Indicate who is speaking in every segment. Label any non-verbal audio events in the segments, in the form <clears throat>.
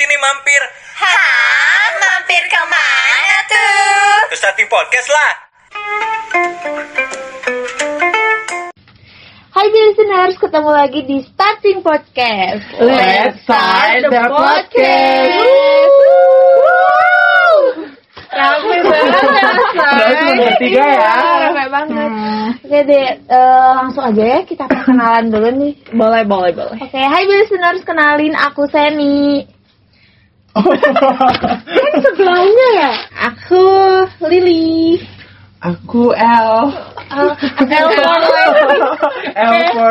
Speaker 1: mampir.
Speaker 2: Hah? Mampir kemana tuh?
Speaker 1: Ke starting podcast lah.
Speaker 3: Hai listeners, ketemu lagi di Starting Podcast.
Speaker 4: Let's start the podcast.
Speaker 3: Rame banget,
Speaker 4: Berarti
Speaker 3: say.
Speaker 4: cuma bertiga
Speaker 3: Iya,
Speaker 4: ya.
Speaker 3: Rame banget. Oke deh, eh, langsung aja ya kita perkenalan dulu nih.
Speaker 4: Boleh, boleh, boleh.
Speaker 3: Oke, hai listeners, kenalin aku Seni.
Speaker 4: Kan
Speaker 3: Sebelahnya ya, aku Lili.
Speaker 4: Aku L.
Speaker 3: L for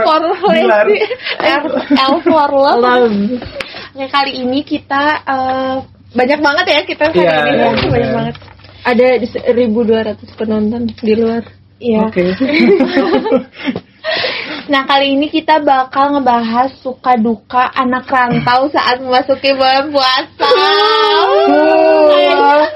Speaker 3: <laughs>
Speaker 4: L for, Dilar.
Speaker 3: L for love. Oke, kali ini kita eh, banyak banget ya kita hari
Speaker 4: Iya,
Speaker 3: ini ya,
Speaker 4: iya.
Speaker 3: banyak banget. Ada 1200 penonton di luar. Iya.
Speaker 4: Oke.
Speaker 3: <laughs> Nah, kali ini kita bakal ngebahas suka duka anak rantau saat memasuki bulan puasa.
Speaker 4: Wah.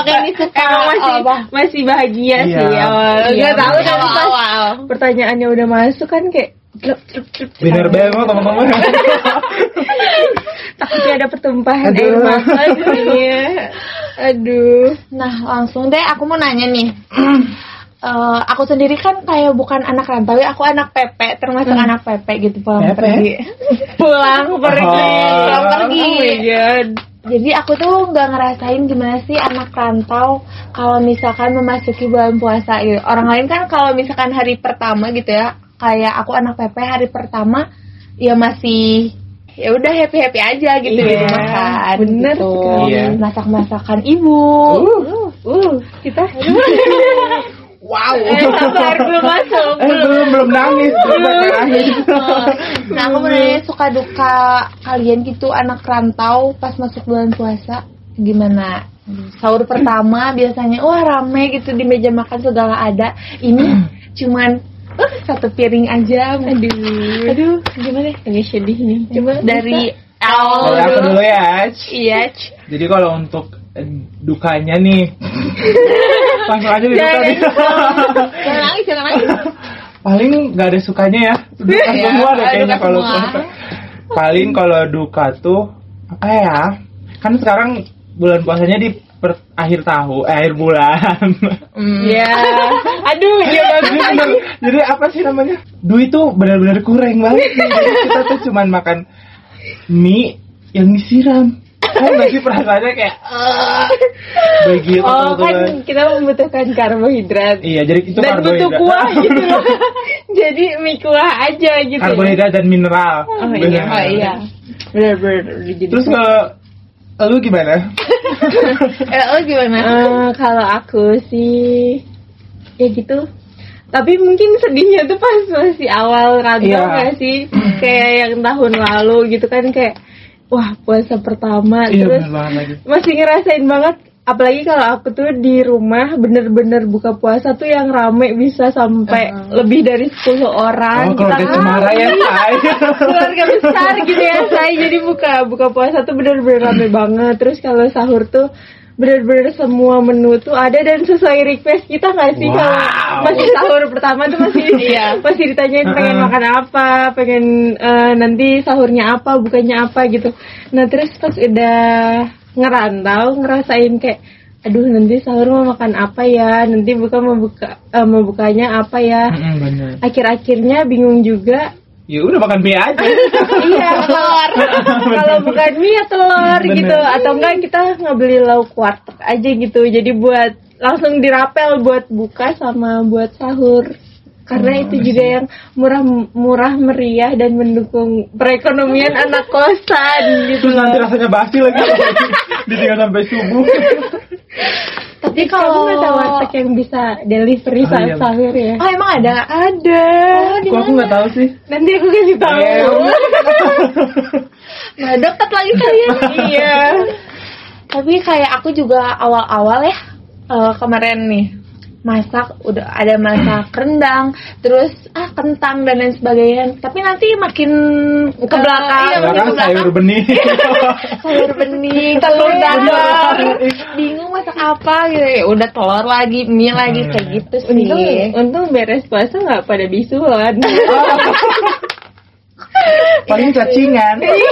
Speaker 3: Oke, ini suka
Speaker 5: Emang masih
Speaker 3: Oh, apa?
Speaker 5: masih bahagia sih
Speaker 4: Iya.
Speaker 5: awal.
Speaker 4: Iya,
Speaker 5: Gak tahu kan
Speaker 3: Awal-awal.
Speaker 5: pas pertanyaannya udah masuk kan kayak glep, glep, glep, glep.
Speaker 4: Bener banget sama teman-teman.
Speaker 5: takutnya ada pertumpahan
Speaker 4: Aduh.
Speaker 5: air mata gitu ya. Aduh.
Speaker 3: Nah, langsung deh aku mau nanya nih. <clears throat> Eh, aku sendiri kan kayak bukan anak rantau ya, aku anak PP, termasuk anak PP gitu pulang
Speaker 4: Hmm. Pepe.
Speaker 3: pergi. pulang pergi,
Speaker 4: Oh. iya.
Speaker 3: pulang pergi.
Speaker 5: Oh my god.
Speaker 3: Jadi aku tuh nggak ngerasain gimana sih anak rantau kalau misalkan memasuki bulan puasa gitu. Orang lain kan kalau misalkan hari pertama gitu ya, kayak aku anak PP hari pertama ya masih ya udah happy happy aja gitu di
Speaker 5: Iya,
Speaker 3: rumah kan,
Speaker 5: bener
Speaker 3: gitu.
Speaker 4: sekali. Iya.
Speaker 3: masak masakan ibu
Speaker 5: Uh, kita
Speaker 4: Wow.
Speaker 5: eh, sabar belum masuk.
Speaker 4: Eh, belum belum nangis, belum Oh. bakal nangis.
Speaker 3: nah aku mau nanya suka duka kalian gitu anak rantau pas masuk bulan puasa gimana sahur pertama biasanya wah rame gitu di meja makan segala ada ini cuman "Eh, satu piring aja
Speaker 5: Aduh.
Speaker 3: aduh gimana
Speaker 5: Agak sedih nih. Coba
Speaker 3: dari awal
Speaker 4: Kalau aku
Speaker 3: dulu
Speaker 4: dulu ya. Ci.
Speaker 3: Oh. iya c-
Speaker 4: Jadi kalau untuk eh, dukanya
Speaker 3: <laughs>
Speaker 4: nih. Langsung aja di duka
Speaker 3: Jangan.
Speaker 4: nih.
Speaker 3: jangan nangis jangan nangis
Speaker 4: <laughs> paling nggak ada sukanya ya duka
Speaker 3: Iya,
Speaker 4: semua deh
Speaker 3: ada
Speaker 4: kayaknya
Speaker 3: duka
Speaker 4: kalau
Speaker 3: semua.
Speaker 4: puasa. paling kalau duka tuh apa ya kan sekarang bulan puasanya di per- akhir tahun eh, akhir bulan <laughs> Iya.
Speaker 5: Ya. Aduh, iya. dia udah
Speaker 4: jadi, bener- jadi apa sih namanya duit tuh benar-benar kurang banget Jadi kita tuh cuman makan mie yang disiram kan pasti perasaannya kayak "Ah." begitu
Speaker 5: Oh
Speaker 4: teman-teman.
Speaker 5: kan kita membutuhkan karbohidrat
Speaker 4: iya jadi itu
Speaker 5: dan butuh
Speaker 4: karbohidrat
Speaker 5: kuah
Speaker 4: <laughs>
Speaker 5: gitu loh. <laughs> Jadi mie kuah aja gitu.
Speaker 4: karbohidrat dan mineral
Speaker 5: Oh iya,
Speaker 4: Bener.
Speaker 5: oh iya. Bener-bener jadi.
Speaker 4: Terus kalau lu
Speaker 5: <laughs>
Speaker 4: gimana?
Speaker 3: eh, oh gimana
Speaker 5: Eh, kalau aku sih ya gitu. Tapi mungkin sedihnya tuh pas masih awal rantau
Speaker 4: Iya.
Speaker 5: nggak sih? kayak yang tahun lalu gitu kan kayak wah puasa pertama Ya, terus
Speaker 4: bener banget Iya, lagi.
Speaker 5: masih ngerasain banget apalagi kalau aku tuh di rumah bener-bener buka puasa tuh yang rame bisa sampai lebih dari 10 orang gitu
Speaker 4: Oh, keluarga
Speaker 5: kan. Ah, Kita-
Speaker 4: Cemara ya,
Speaker 5: <laughs>
Speaker 4: Shay.
Speaker 5: keluarga besar gitu ya saya jadi buka buka puasa tuh bener-bener rame banget terus kalau sahur tuh bener-bener semua menu tuh ada dan sesuai request kita nggak sih kalau
Speaker 4: Wow.
Speaker 5: masih sahur pertama tuh masih masih ditanyain pengen
Speaker 4: Uh-uh.
Speaker 5: makan apa pengen eh, nanti sahurnya apa bukannya apa gitu nah terus pas udah ngerantau ngerasain kayak aduh nanti sahur mau makan apa ya nanti buka mau buka eh, mau bukanya apa ya
Speaker 4: Mm-mm, bener.
Speaker 5: akhir-akhirnya bingung juga
Speaker 4: Ya udah makan mie aja.
Speaker 5: <laughs> iya telur <laughs> kalau bukan mie ya telur
Speaker 4: Bener.
Speaker 5: gitu atau enggak kita ngebeli lauk warteg aja gitu jadi buat langsung dirapel buat buka sama buat sahur karena itu juga yang murah murah meriah dan mendukung
Speaker 4: <laughs>
Speaker 5: perekonomian anak kosan gitu
Speaker 4: Terus nanti
Speaker 5: loh.
Speaker 4: rasanya basi <laughs> lagi. Ditinggal sampai subuh.
Speaker 3: tapi
Speaker 5: Kamu
Speaker 3: kalau
Speaker 5: ada warteg yang bisa delivery
Speaker 4: Oh,
Speaker 5: saat
Speaker 4: iya.
Speaker 5: sahur ya?
Speaker 3: oh emang ada Oh,
Speaker 5: Ada.
Speaker 4: Kok aku nggak tahu sih?
Speaker 5: Nanti aku kasih tahu.
Speaker 4: Eh,
Speaker 3: Nah, deket lagi <laughs> kalian.
Speaker 5: iya.
Speaker 3: Tapi kayak aku juga awal-awal ya eh, kemarin nih masak udah ada masak rendang, terus ah kentang dan lain sebagainya. Tapi nanti makin ke belakang,
Speaker 4: Iya,
Speaker 3: Eh, makin
Speaker 4: kan
Speaker 3: ke belakang.
Speaker 4: sayur benih.
Speaker 3: Sayur bening, telur dadar,
Speaker 4: Bener.
Speaker 3: bingung masak apa gitu. Ya udah telur lagi, mie <laughs> lagi kayak gitu sih.
Speaker 4: Iya. Oh.
Speaker 5: Untung, untung beres puasa nggak pada bisuan.
Speaker 4: paling cacingan
Speaker 3: Iya.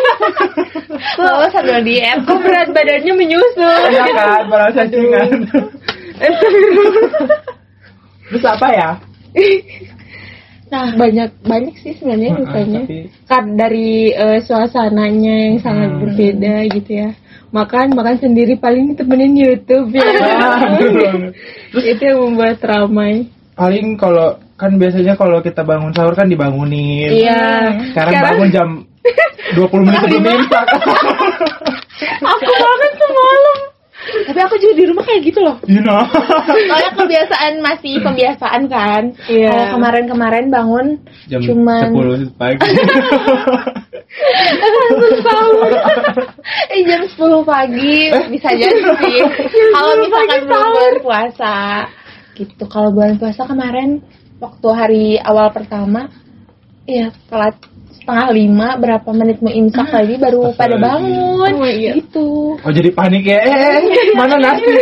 Speaker 3: Lo sambil diet
Speaker 5: Kok <laughs> berat badannya menyusut?
Speaker 4: iya kan barang cacingan kan?
Speaker 5: <laughs>
Speaker 4: terus apa ya
Speaker 5: <laughs> Nah, banyak banyak sih sebenarnya
Speaker 4: Heeh,
Speaker 5: dukanya.
Speaker 4: tapi-
Speaker 5: Kan dari eh, suasananya yang sangat
Speaker 4: Hmm.
Speaker 5: berbeda gitu ya. Makan makan sendiri paling temenin YouTube ya.
Speaker 4: <laughs> Aduh.
Speaker 5: <laughs> itu yang membuat ramai.
Speaker 4: paling kalau kan biasanya kalau kita bangun sahur kan dibangunin
Speaker 5: Iya.
Speaker 4: sekarang, bangun jam 20 menit sebelum imsak <laughs>
Speaker 5: aku banget semalam.
Speaker 3: Tapi aku juga di rumah kayak gitu loh
Speaker 4: you know
Speaker 3: Soalnya kebiasaan masih pembiasaan kan
Speaker 5: Iya.
Speaker 3: Kalau kemarin-kemarin bangun
Speaker 4: jam
Speaker 3: Cuman
Speaker 4: 10 pagi
Speaker 3: <laughs> eh, jam 10 pagi Bisa jadi sih Kalau
Speaker 5: 10 pagi
Speaker 3: misalkan belum
Speaker 5: sahur.
Speaker 3: bulan puasa Gitu Kalau bulan puasa kemarin Waktu hari awal pertama Iya telat setengah lima Berapa menit mau imsak lagi Baru pada
Speaker 4: Astagfirullahaladzim.
Speaker 3: bangun
Speaker 5: Oh, iya.
Speaker 3: Gitu
Speaker 4: oh jadi panik ya eh, eh,
Speaker 5: <laughs>
Speaker 4: eh, mana nasi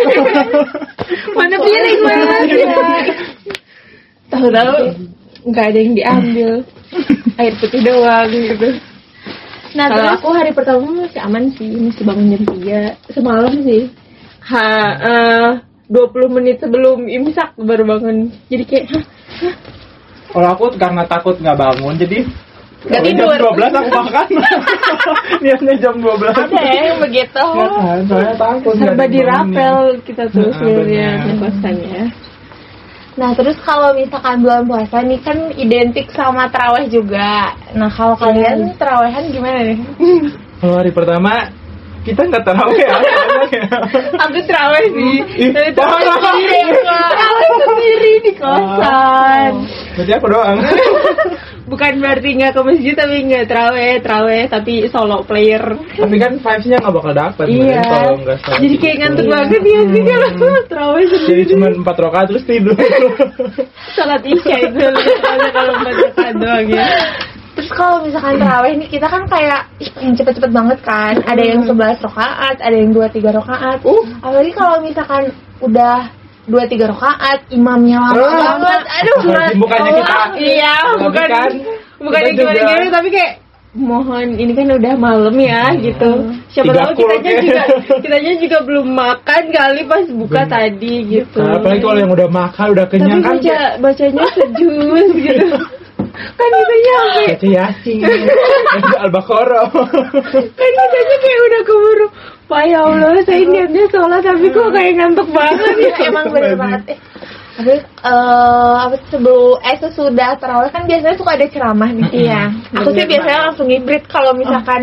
Speaker 5: Mana piring <laughs> Tahu-tahu nggak ada yang
Speaker 4: <laughs>
Speaker 5: diambil. Air putih doang gitu.
Speaker 3: Nah
Speaker 5: Kalau
Speaker 3: terus
Speaker 5: aku hari pertama masih aman sih, masih bangun jam 3 semalam sih. Ha, eh, 20 menit sebelum imsak baru bangun. Jadi kayak hah,
Speaker 4: kalau aku karena takut nggak bangun jadi
Speaker 3: Nggak
Speaker 4: kalau
Speaker 3: tidur.
Speaker 4: jam 12 aku
Speaker 5: <laughs>
Speaker 4: makan niatnya jam 12
Speaker 3: ada ya yang begitu
Speaker 4: Nggak tahan, soalnya takut nggak ada
Speaker 5: serba
Speaker 4: yang bangunin.
Speaker 5: dirapel kita tuh
Speaker 4: Nah,
Speaker 5: sebenarnya
Speaker 4: benar.
Speaker 5: di kosan ya.
Speaker 3: Nah terus kalau misalkan bulan puasa nih kan identik sama terawih juga. Nah kalau kalian terawihan gimana nih?
Speaker 4: kalau hari pertama kita nggak tarawih
Speaker 5: <laughs>
Speaker 4: ya
Speaker 5: Aku terawih sih.
Speaker 4: Ih,
Speaker 5: Tapi terawih
Speaker 4: parah. Ah.
Speaker 5: sendiri. Terawih sendiri di kosan.
Speaker 4: Berarti aku
Speaker 5: <laughs>
Speaker 4: doang
Speaker 5: Bukan berarti nggak ke masjid tapi nggak terawih, terawih tapi solo player.
Speaker 4: Tapi kan vibes-nya gak bakal dapet Mending kalau nggak salah
Speaker 5: Iya. Jadi kayak
Speaker 4: gitu.
Speaker 5: ngantuk banget ya sih
Speaker 4: Hmm.
Speaker 5: kalau terawih
Speaker 4: Jadi
Speaker 5: sendiri.
Speaker 4: cuma 4 rokaat terus
Speaker 5: <laughs>
Speaker 4: tidur
Speaker 5: Salat isya
Speaker 4: <laughs>
Speaker 5: itu lebih tepatnya kalau baca doang ya.
Speaker 3: Terus kalau misalkan terawih nih kita kan kayak ih, pengen cepet-cepet banget kan. Ada yang 11 rokaat, ada yang 2-3 rokaat. Uh. Apalagi kalau misalkan udah 2-3 rokaat, imamnya lama
Speaker 4: Ah.
Speaker 3: banget. Aduh.
Speaker 4: Apalagi bukannya kita
Speaker 5: Iya,
Speaker 4: Tapi
Speaker 5: bukan
Speaker 4: kan,
Speaker 5: bukan
Speaker 4: kita
Speaker 5: yang gimana-gimana
Speaker 4: juga-
Speaker 5: tapi kayak mohon ini kan udah malam ya gitu. Siapa
Speaker 4: Iya. Tiga
Speaker 5: tahu
Speaker 4: kul,
Speaker 5: kitanya
Speaker 4: kayak.
Speaker 5: juga kitanya juga belum makan kali pas buka
Speaker 4: Bener.
Speaker 5: tadi gitu.
Speaker 4: Iya. Nah, Apalagi kalau yang udah makan udah
Speaker 5: tapi
Speaker 4: kenyang kan
Speaker 5: baca bacanya sejus <laughs> gitu. kan kitanya sampai
Speaker 4: Baca yasin Baca al-baqarah
Speaker 5: kan kitanya kayak udah keburu Pak ya Allah, saya niatnya sholat tapi kok kayak ngantuk banget ya.
Speaker 3: Iya,
Speaker 5: <laughs>
Speaker 4: Iya.
Speaker 3: Emang bener banget. Eh, tapi eh, apa sebelum eh sesudah terawih kan biasanya suka ada ceramah nih.
Speaker 5: Iya,
Speaker 3: Aku sih
Speaker 5: bener
Speaker 3: biasanya langsung hibrid kalau misalkan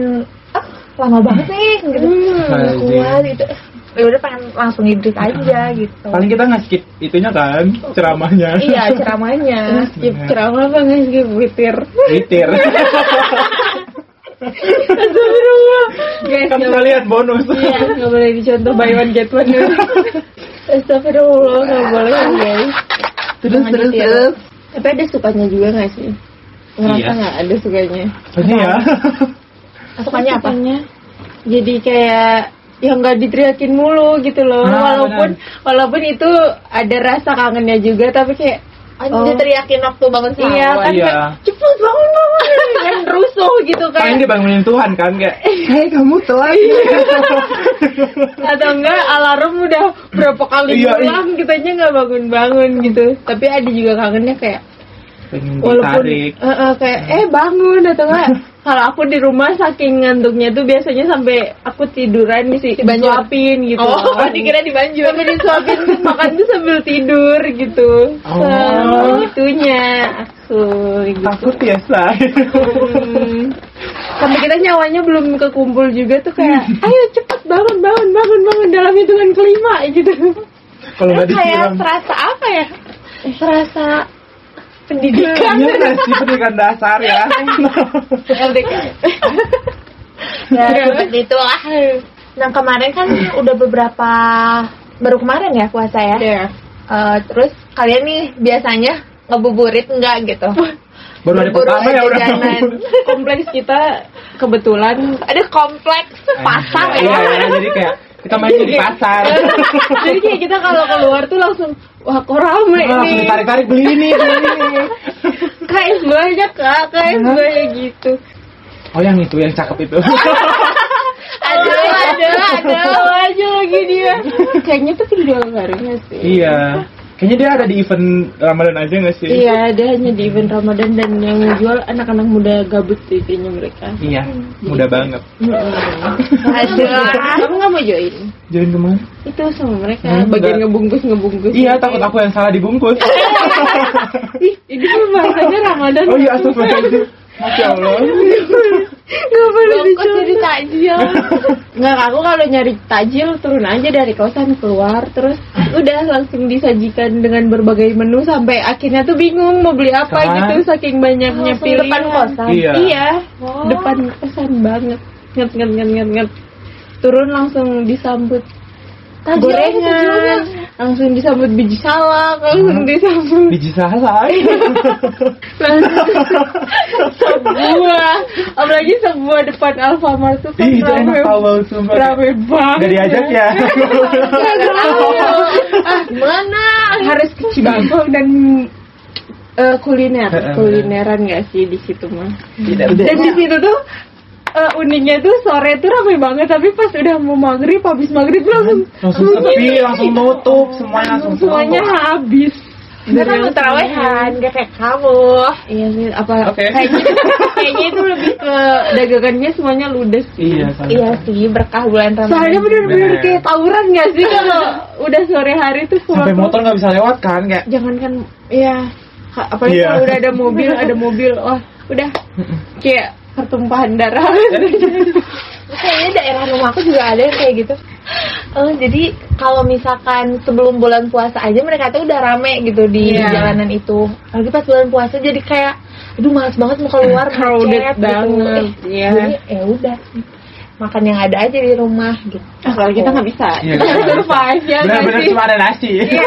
Speaker 3: ah, lama banget nih gitu.
Speaker 5: Mm.
Speaker 3: nggak
Speaker 4: Anjing.
Speaker 3: kuat gitu. Eh, Ya udah pengen langsung hibrid aja gitu.
Speaker 4: Paling kita nggak skip itunya kan Ceramahnya
Speaker 5: <laughs>
Speaker 3: Iya, ceramahnya.
Speaker 5: Skip ceramah apa nggak skip witir?
Speaker 4: Witir
Speaker 5: <laughs> Astagfirullah. Guys,
Speaker 4: Kan
Speaker 5: nggak
Speaker 4: kalian bonus
Speaker 5: Iya, nggak boleh dicontoh by one get one. Astagfirullah, nggak boleh ya guys.
Speaker 4: Terus terus
Speaker 3: Iya.
Speaker 4: terus
Speaker 5: Tapi ada sukanya juga nggak sih? Ngerasa
Speaker 4: Iya.
Speaker 5: nggak ada sukanya?
Speaker 4: Ini ya
Speaker 3: Sukanya apa?
Speaker 5: Sukanya, Jadi kayak yang nggak diteriakin mulu gitu loh.
Speaker 4: Ah,
Speaker 5: walaupun walaupun itu ada rasa kangennya juga, tapi kayak
Speaker 3: Oh. Diteriakin waktu bangun sahur.
Speaker 5: Iya kan
Speaker 4: iya.
Speaker 5: kayak, cepet bangun bangun <laughs> kan rusuh gitu
Speaker 4: Paling
Speaker 5: kan
Speaker 4: dibangunin Tuhan kan kayak Hei kamu telat
Speaker 5: atau enggak alarm udah berapa kali
Speaker 4: Iya,
Speaker 5: ulang kitanya nggak bangun bangun gitu tapi ada juga kangennya kayak
Speaker 4: <laughs> Pengen
Speaker 5: walaupun
Speaker 4: ditarik
Speaker 5: Eh, eh, kayak eh bangun
Speaker 3: <laughs>
Speaker 5: atau enggak kalau aku di rumah saking ngantuknya tuh biasanya sampai aku tiduran di
Speaker 3: Dibanjur.
Speaker 5: disuapin gitu
Speaker 3: Oh, <laughs> dikira di Banjur.
Speaker 5: sampai disuapin tuh makan tuh sambil tidur gitu
Speaker 4: Oh.
Speaker 5: Sama gitunya aku
Speaker 3: <laughs>
Speaker 5: gitu
Speaker 4: Takut ya say
Speaker 5: Hmm. Sampai kita nyawanya belum kekumpul juga tuh
Speaker 3: <laughs>
Speaker 5: kayak, ayo cepet bangun, bangun, bangun, bangun dalam hitungan kelima gitu.
Speaker 4: Kalau nggak
Speaker 3: Kayak
Speaker 4: disiram.
Speaker 3: serasa apa ya? Serasa pendidikan.
Speaker 4: Iya nggak sih pendidikan dasar ya.
Speaker 5: LDK.
Speaker 3: ya seperti itulah nah kemarin kan udah beberapa baru kemarin ya puasa ya
Speaker 5: Ya.
Speaker 3: Eh, terus kalian nih biasanya ngebuburit enggak gitu
Speaker 4: Baru hari
Speaker 3: Baru
Speaker 4: pertama
Speaker 3: ada
Speaker 4: ya udah.
Speaker 3: jajanan.
Speaker 5: Kompleks kita kebetulan
Speaker 3: ada kompleks pasar ya
Speaker 4: Iya, iya, jadi kayak kita main di pasar.
Speaker 5: <laughs> jadi kayak kita kalau keluar tuh langsung wah kok rame nih
Speaker 4: tarik tarik beli ini beli ini.
Speaker 5: KS banyak kak KS banyak gitu
Speaker 4: Oh yang itu, yang cakep
Speaker 5: <laughs>
Speaker 4: itu.
Speaker 5: Aduh, aduh, aduh, aja lagi dia. Kayaknya tuh video barunya sih.
Speaker 4: iya. Kayaknya dia ada di event Ramadan aja gak sih?
Speaker 5: Iya, dia hanya di event Ramadan dan yang jual anak-anak muda gabut sih kayaknya mereka.
Speaker 4: Iya, mudah banget.
Speaker 5: Aduh, kamu nggak mau join?
Speaker 4: Join kemana?
Speaker 5: Itu sama mereka,
Speaker 4: Hmm,
Speaker 5: bagian
Speaker 4: enggak.
Speaker 5: ngebungkus ngebungkus.
Speaker 4: Iya, takut aku yang salah
Speaker 5: <laughs>
Speaker 4: dibungkus.
Speaker 5: Ih, ini mah bahasanya Ramadan.
Speaker 4: oh iya, astagfirullahaladzim. Masya Allah.
Speaker 5: Nggak boleh
Speaker 3: Bungkus jadi
Speaker 5: tajil. Nggak, aku kalau nyari tajil turun aja dari kosan keluar, terus udah langsung disajikan dengan berbagai menu sampai akhirnya tuh bingung mau beli apa
Speaker 4: Kan?
Speaker 5: gitu saking banyaknya
Speaker 3: Langsung
Speaker 5: pilihan.
Speaker 3: depan kosan? Oh.
Speaker 4: Iya.
Speaker 5: Iya, depan kosan banget. Nget nget nget nget nget. Turun langsung disambut
Speaker 3: Tajil apa tajilnya?
Speaker 5: gorengan, langsung disambut biji salak, langsung
Speaker 4: Hmm.
Speaker 5: disambut <laughs>
Speaker 4: Biji salai.
Speaker 5: sebuah apalagi sebuah depan Alfamart tuh kan
Speaker 4: Ih, itu enak
Speaker 5: rame-
Speaker 4: tau banget, sumpah.
Speaker 5: rame Iya, banget
Speaker 4: Gak diajak ya? <laughs>
Speaker 5: ah mana harus ke Cibangkok dan eh, kuliner
Speaker 4: Heeh.
Speaker 5: kulineran gak sih di situ mah
Speaker 4: Tidak,
Speaker 5: dan
Speaker 3: Iya.
Speaker 5: di situ tuh eh, uniknya tuh sore tuh rame banget tapi pas udah mau maghrib habis maghrib tuh langsung
Speaker 4: Langsung sepi, langsung nutup, semuanya langsung
Speaker 5: semuanya
Speaker 4: tutup.
Speaker 5: habis
Speaker 3: Kita kan mau tarawehan, gak kayak kamu.
Speaker 5: Iya sih, apa
Speaker 4: Oke.
Speaker 5: kayaknya kayaknya itu lebih ke dagangannya semuanya ludes sih.
Speaker 4: Iya, sangat.
Speaker 3: Iya sih, berkah bulan
Speaker 5: Soalnya
Speaker 3: Ramadan.
Speaker 5: bener-bener
Speaker 4: Bener.
Speaker 5: kayak tawuran gak sih kalau udah sore hari tuh pulang
Speaker 4: Sampai motor nggak bisa lewat kan, kayak
Speaker 5: jangan kan ya ka- apalagi
Speaker 4: Iya.
Speaker 5: kalau udah ada
Speaker 4: <laughs>
Speaker 5: mobil ada mobil wah udah kayak pertumpahan
Speaker 4: <laughs>
Speaker 5: darah
Speaker 3: Kayaknya daerah rumahku juga ada yang kayak gitu. Eh, jadi kalau misalkan sebelum bulan puasa aja mereka tuh udah rame gitu di
Speaker 5: Iya.
Speaker 3: jalanan itu. Lagi pas bulan puasa jadi kayak aduh malas banget mau keluar
Speaker 5: Crowded
Speaker 3: macet
Speaker 5: banget,
Speaker 3: Gitu. Eh,
Speaker 5: iya.
Speaker 3: Jadi ya udah makan yang ada aja di rumah gitu.
Speaker 5: kalau kita nggak bisa
Speaker 4: Iya,
Speaker 5: kita
Speaker 4: kita nggak bisa.
Speaker 5: survive ya nggak
Speaker 4: benar-benar
Speaker 5: sih?
Speaker 4: cuma ada nasi. <laughs>
Speaker 5: Iya,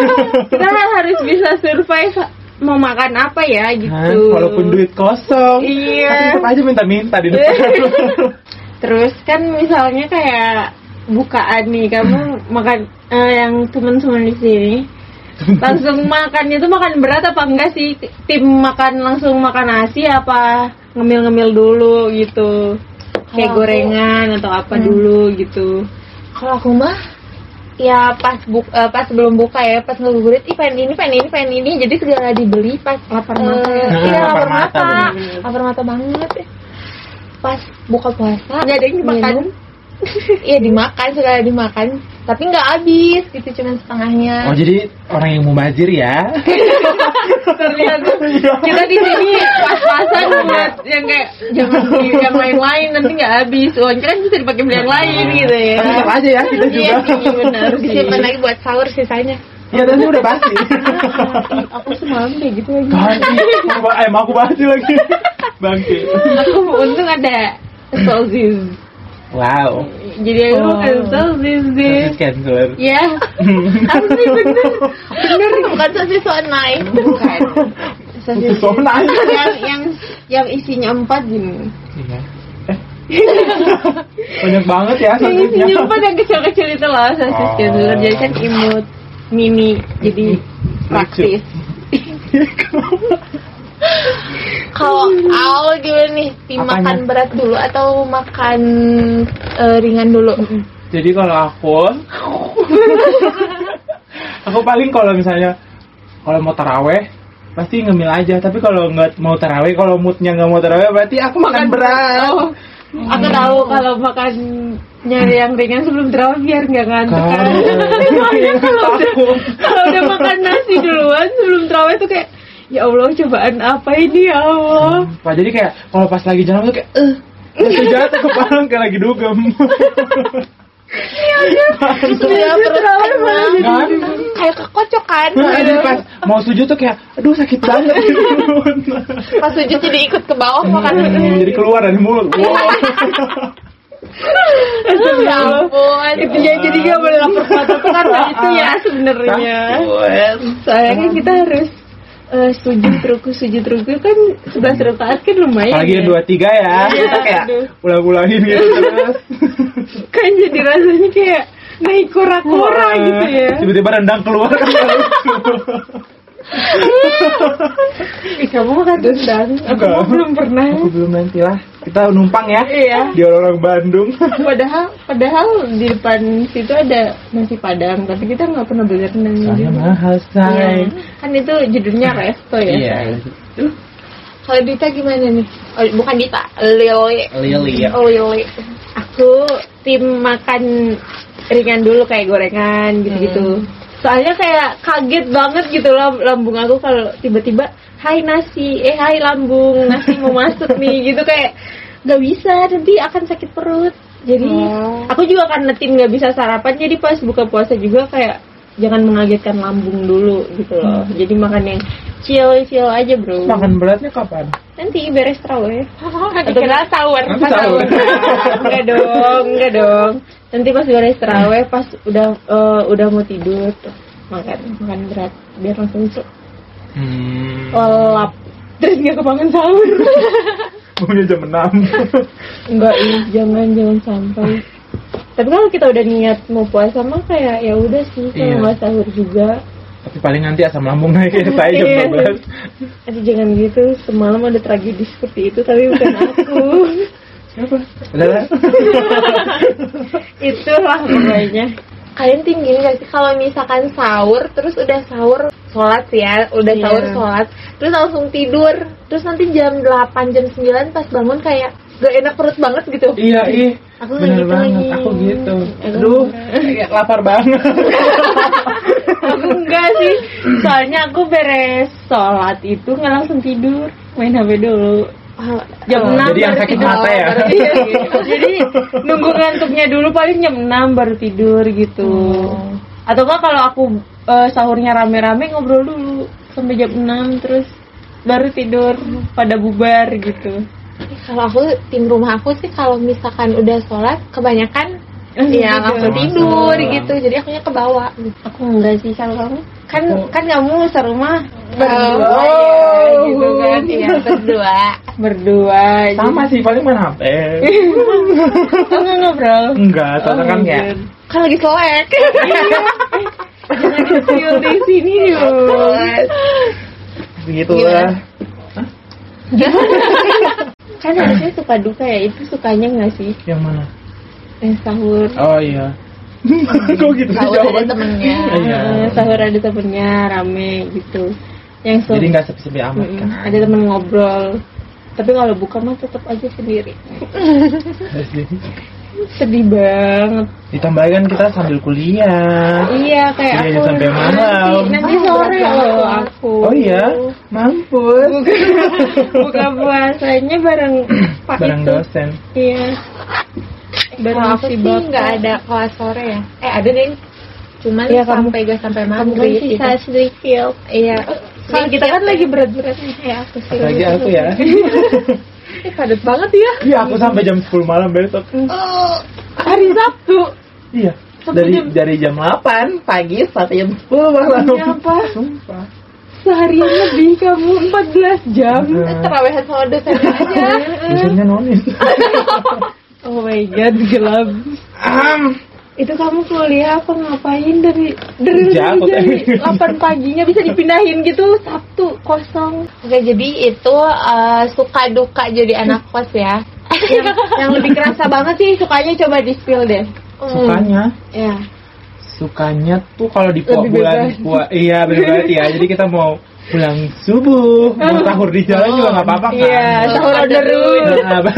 Speaker 5: kita harus bisa survive mau makan apa ya gitu
Speaker 4: Kan, walaupun duit kosong,
Speaker 5: Iya.
Speaker 4: tapi tetap aja minta-minta di depan.
Speaker 5: Terus kan misalnya kayak bukaan nih, kamu makan eh, yang teman-teman di sini langsung makannya tuh makan berat apa enggak sih? Tim makan langsung makan nasi apa ngemil-ngemil dulu gitu.
Speaker 3: Kalau
Speaker 5: Kayak
Speaker 3: aku-
Speaker 5: gorengan atau apa dulu gitu.
Speaker 3: Kalau aku mah ya pas buk eh, pas belum buka ya pas ngebuburit ih pengen ini pengen ini pengen ini jadi segala dibeli pas eh,
Speaker 5: Lapar mata ya.
Speaker 3: iya
Speaker 4: Nah,
Speaker 3: lapar
Speaker 4: lapar
Speaker 3: mata
Speaker 4: mata,
Speaker 5: bener-bener.
Speaker 3: lapar mata banget pas buka puasa
Speaker 5: Nggak ada yang dimakan.
Speaker 3: minum. <laughs> iya dimakan segala dimakan tapi nggak habis gitu cuman setengahnya
Speaker 4: <laughs> Oh jadi orang yang mubazir ya?
Speaker 5: Terlihat Iya. kita di sini pas-pasan buat yang kayak jangan beli yang lain-lain nanti nggak habis. Uangnya kan bisa dipakai beli yang lain gitu ya.
Speaker 4: Tapi tetap aja ya kita juga.
Speaker 5: Iya sih,
Speaker 4: <laughs>
Speaker 5: benar
Speaker 3: harus
Speaker 5: sih.
Speaker 3: disimpan lagi buat sahur sisanya
Speaker 4: Iya dan udah pasti.
Speaker 5: aku semalam kayak gitu lagi
Speaker 4: Ganti, Aku ba- eh aku basi
Speaker 5: <laughs>
Speaker 4: lagi. Bangke.
Speaker 5: aku untung ada solzis
Speaker 4: Wow.
Speaker 5: jadi aku
Speaker 3: Oh.
Speaker 5: kan solzis deh
Speaker 4: Terus cancer.
Speaker 5: ya aku sih bener bener
Speaker 3: <laughs> bukan sosis online
Speaker 5: bukan
Speaker 4: Itu so nice.
Speaker 5: yang yang yang isinya empat gini
Speaker 4: Iya. Eh. Banyak banget ya
Speaker 5: yang
Speaker 4: satunya.
Speaker 5: isinya empat yang kecil-kecil itu loh sosis
Speaker 4: Oh.
Speaker 5: kecil jadi kan imut mini jadi praktis
Speaker 3: kalau awal gimana nih tim
Speaker 4: Apanya?
Speaker 3: makan berat dulu atau makan eh, ringan dulu
Speaker 4: Jadi kalau aku aku paling kalau misalnya kalau mau taraweh pasti ngemil aja tapi kalau nggak mau taraweh kalau moodnya nggak mau taraweh berarti aku makan, Hmm. berat
Speaker 5: Oh, aku tahu kalau makan nyari yang ringan sebelum terawih biar nggak ngantuk
Speaker 4: Kan.
Speaker 5: kan. <laughs> Soalnya kalau udah
Speaker 4: Takut.
Speaker 5: kalau udah makan nasi duluan sebelum terawih tuh kayak ya Allah cobaan apa ini ya Allah.
Speaker 4: Wah, jadi kayak kalau pas lagi jalan tuh kayak eh jatuh jatuh kepala kayak lagi dugem
Speaker 5: Iya, kan?
Speaker 3: terus udah Ya, perut
Speaker 5: terawih
Speaker 3: kenyang,
Speaker 5: malah jadi
Speaker 4: Kan?
Speaker 3: kayak kekocok kan
Speaker 5: Hmm.
Speaker 4: Nah, jadi pas mau sujud tuh kayak aduh sakit banget
Speaker 3: pas sujud jadi ikut ke bawah
Speaker 5: Iya.
Speaker 3: makan
Speaker 4: Hmm, jadi keluar dari mulut wow. Oh,
Speaker 3: ya ampun
Speaker 5: Hmm. Itu ya jadi nggak boleh lapar mata tuh karena
Speaker 4: Ah,
Speaker 5: itu ya sebenarnya.
Speaker 4: Nah,
Speaker 5: Soalnya kan kita harus eh, sujud ruku sujud ruku kan sebelas rakaat kan lumayan.
Speaker 4: Apalagi
Speaker 5: ya.
Speaker 4: yang dua tiga ya,
Speaker 5: Iya,
Speaker 4: kita kayak
Speaker 5: aduh.
Speaker 4: ulang-ulangin gitu terus.
Speaker 5: kan jadi rasanya kayak naik kura-kura gitu ya.
Speaker 4: Tiba-tiba rendang keluar kan nggak lucu.
Speaker 5: Ih, kamu kan makan rendang. Aku
Speaker 4: Enggak.
Speaker 5: belum pernah.
Speaker 4: Aku belum nanti lah. kita numpang ya
Speaker 5: Iya.
Speaker 4: di orang-orang Bandung
Speaker 5: <laughs> Padahal padahal di depan situ ada nasi padang, tapi kita nggak pernah beli nasi
Speaker 4: soalnya
Speaker 5: padang.
Speaker 4: mahal say
Speaker 5: Iya. Kan itu judulnya resto ya.
Speaker 4: iya
Speaker 3: Kalau Dita gimana nih? Oh, bukan Dita, Lili.
Speaker 4: Lili ya
Speaker 3: Lili.
Speaker 5: Oh, iya, Aku tim makan ringan dulu kayak gorengan gitu-gitu. Soalnya kayak kaget banget gitu loh lambung aku kalau tiba-tiba hai nasi, eh hai lambung, nasi mau masuk nih gitu kayak nggak bisa nanti akan sakit perut. Jadi
Speaker 3: Oh.
Speaker 5: aku juga karena tim nggak bisa sarapan jadi pas buka puasa juga kayak jangan mengagetkan lambung dulu gitu loh. Jadi makan yang chill-chill aja bro.
Speaker 4: makan beratnya kapan
Speaker 5: Nanti beres ya. <laughs> terawih.
Speaker 3: Dikira sahur.
Speaker 4: Nanti
Speaker 5: Pas
Speaker 4: sahur.
Speaker 5: Oh, sahur. <laughs> enggak dong, enggak dong. Nanti pas beres terawih, pas udah eh, udah mau tidur tuh makan makan berat biar langsung cuk,
Speaker 4: hmm.
Speaker 5: lelap terus nggak kebangun <laughs> sahur
Speaker 4: Maunya jam 6
Speaker 5: enggak ih iya, jangan jangan sampai tapi kalau kita udah niat mau puasa mah kayak ya udah sih kalau
Speaker 4: Iya.
Speaker 5: nggak sahur juga
Speaker 4: <laughs> tapi paling nanti asam lambung <laughs> naik ya saya jam
Speaker 5: Iya.
Speaker 4: 12
Speaker 5: Aduh jangan gitu semalam ada tragedi seperti itu tapi bukan <laughs> aku
Speaker 4: siapa Lala
Speaker 5: itulah pokoknya
Speaker 3: Kalian tinggi nggak sih kalau misalkan sahur terus udah sahur sholat ya, udah
Speaker 5: Iya.
Speaker 3: sahur sholat, terus langsung tidur, terus nanti jam 8 jam 9 pas bangun kayak gak enak perut banget gitu.
Speaker 4: iya ih
Speaker 3: Aku nggak
Speaker 4: bener
Speaker 3: gitu
Speaker 4: banget
Speaker 3: lagi.
Speaker 4: aku gitu aduh kayak lapar banget
Speaker 5: aku enggak sih soalnya aku beres sholat itu nggak langsung tidur main hp dulu
Speaker 3: Ah,
Speaker 5: jam
Speaker 4: Oh,
Speaker 5: 6
Speaker 4: jadi yang
Speaker 5: baru
Speaker 4: sakit
Speaker 5: tidur.
Speaker 4: mata ya?
Speaker 5: Baru tidur. jadi nunggu ngantuknya dulu paling jam 6 baru tidur gitu
Speaker 4: Oh.
Speaker 5: atau enggak kalau aku eh, sahurnya rame-rame ngobrol dulu sampai jam 6 terus baru tidur pada bubar gitu
Speaker 3: Kalau aku tim rumah aku sih kalau misalkan udah sholat kebanyakan ya langsung tidur
Speaker 4: Langsung.
Speaker 3: gitu. Jadi akunya ke bawah.
Speaker 5: aku enggak sih kalau kamu kan kan kamu serumah
Speaker 3: Berdua
Speaker 4: <laughs> Oh.
Speaker 3: ya, gitu kan. Iya, berdua.
Speaker 5: berdua gitu.
Speaker 4: sama sih paling main HP
Speaker 5: enggak ngobrol
Speaker 4: enggak soalnya kan ya
Speaker 3: Kan lagi selek. <laughs>
Speaker 5: Yul di sini yuk.
Speaker 4: begitu lah
Speaker 5: Kan harusnya suka duka ya itu sukanya nggak sih
Speaker 4: yang mana
Speaker 5: eh, sahur.
Speaker 4: oh iya <laughs> kok gitu sih
Speaker 3: Sahur ada
Speaker 4: jawabannya
Speaker 3: temennya.
Speaker 4: Iya.
Speaker 5: Eh, sahur ada temennya rame gitu. Yang
Speaker 4: jadi
Speaker 5: sore
Speaker 4: nggak sepi-sepi amat
Speaker 5: Mm-mm,
Speaker 4: kan
Speaker 5: ada temen ngobrol. Tapi kalau buka mah tetap aja sendiri.
Speaker 4: Terus jadi-
Speaker 5: Sedih banget.
Speaker 4: ditambah kan kita sambil kuliah
Speaker 5: Iya kayak
Speaker 4: Iya,
Speaker 5: aku
Speaker 4: sampai malam.
Speaker 5: nanti, nanti
Speaker 3: Ah,
Speaker 5: sore
Speaker 3: berat
Speaker 5: loh
Speaker 3: banget.
Speaker 5: aku.
Speaker 4: oh iya mampus
Speaker 5: Buka puasanya
Speaker 4: <clears throat>
Speaker 5: bareng <laughs> Pak
Speaker 4: bareng
Speaker 5: itu.
Speaker 4: dosen
Speaker 5: Iya.
Speaker 3: Kalau aku
Speaker 5: si
Speaker 3: sih
Speaker 5: bapak.
Speaker 3: nggak ada kelas sore ya. Eh ada deh. Cuman
Speaker 5: Iya, kamu-
Speaker 3: sampai gak sampai
Speaker 5: Kamu kan
Speaker 3: maghrib
Speaker 5: sisa
Speaker 3: gitu.
Speaker 5: sedikit.
Speaker 3: Iya.
Speaker 5: Kalau kita kan lagi berat-berat nih ya aku sih.
Speaker 4: lagi aku
Speaker 5: <laughs>
Speaker 4: ya
Speaker 3: Eh, padat banget ya.
Speaker 4: iya aku sampai jam 10 malam besok
Speaker 5: Oh, Hari Sabtu.
Speaker 4: Iya.
Speaker 5: Sampai
Speaker 4: Dari
Speaker 5: jam- Ya
Speaker 4: dari jam 8 pagi sampai jam 10 malam.
Speaker 5: Kenapa?
Speaker 4: Sumpah.
Speaker 5: Seharian lebih kamu 14
Speaker 4: Iya.
Speaker 5: jam.
Speaker 3: Terawehan sama dosen aja.
Speaker 4: Dosennya nonis.
Speaker 5: <laughs> Oh my god, gelap.
Speaker 4: Am.
Speaker 5: Itu kamu kuliah apa ngapain dari dari
Speaker 4: Kerja,
Speaker 5: dari
Speaker 4: kok.
Speaker 5: jam 8 paginya bisa dipindahin gitu Sabtu kosong.
Speaker 3: <laughs> Oke, jadi itu eh, suka duka jadi anak kos ya.
Speaker 5: Yang, yang lebih kerasa banget sih sukanya coba di spill deh.
Speaker 4: Sukanya
Speaker 5: Ya.
Speaker 4: sukanya tuh kalau di pua,
Speaker 5: Lebih
Speaker 4: bulan
Speaker 5: bebas.
Speaker 4: pua, iya benar ya jadi kita mau pulang subuh mau sahur di jalan juga nggak apa-apa kan
Speaker 5: Iya, sahur Iya. on the road. <laughs>
Speaker 4: Nah, apa-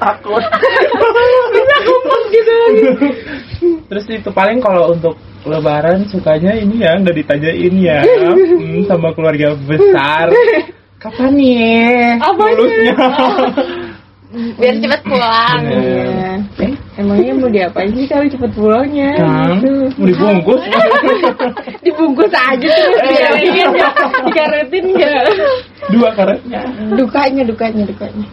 Speaker 4: takut
Speaker 5: Bisa kumpul gitu.
Speaker 4: Terus itu paling kalau untuk lebaran sukanya ini ya nggak ditanyain ya Hmm, sama keluarga besar. Kapan nih
Speaker 5: Apanya?
Speaker 4: lulusnya?
Speaker 3: Biar cepet pulang.
Speaker 5: Iya. Eh, <laughs> emangnya mau diapain sih kalau cepet pulangnya?
Speaker 4: Kan
Speaker 5: Gitu.
Speaker 4: mau dibungkus.
Speaker 5: dibungkus aja terus <laughs> biarin aja dikaretin ya
Speaker 4: Dua karetnya.
Speaker 5: dukanya dukanya
Speaker 3: Iya,
Speaker 5: dukanya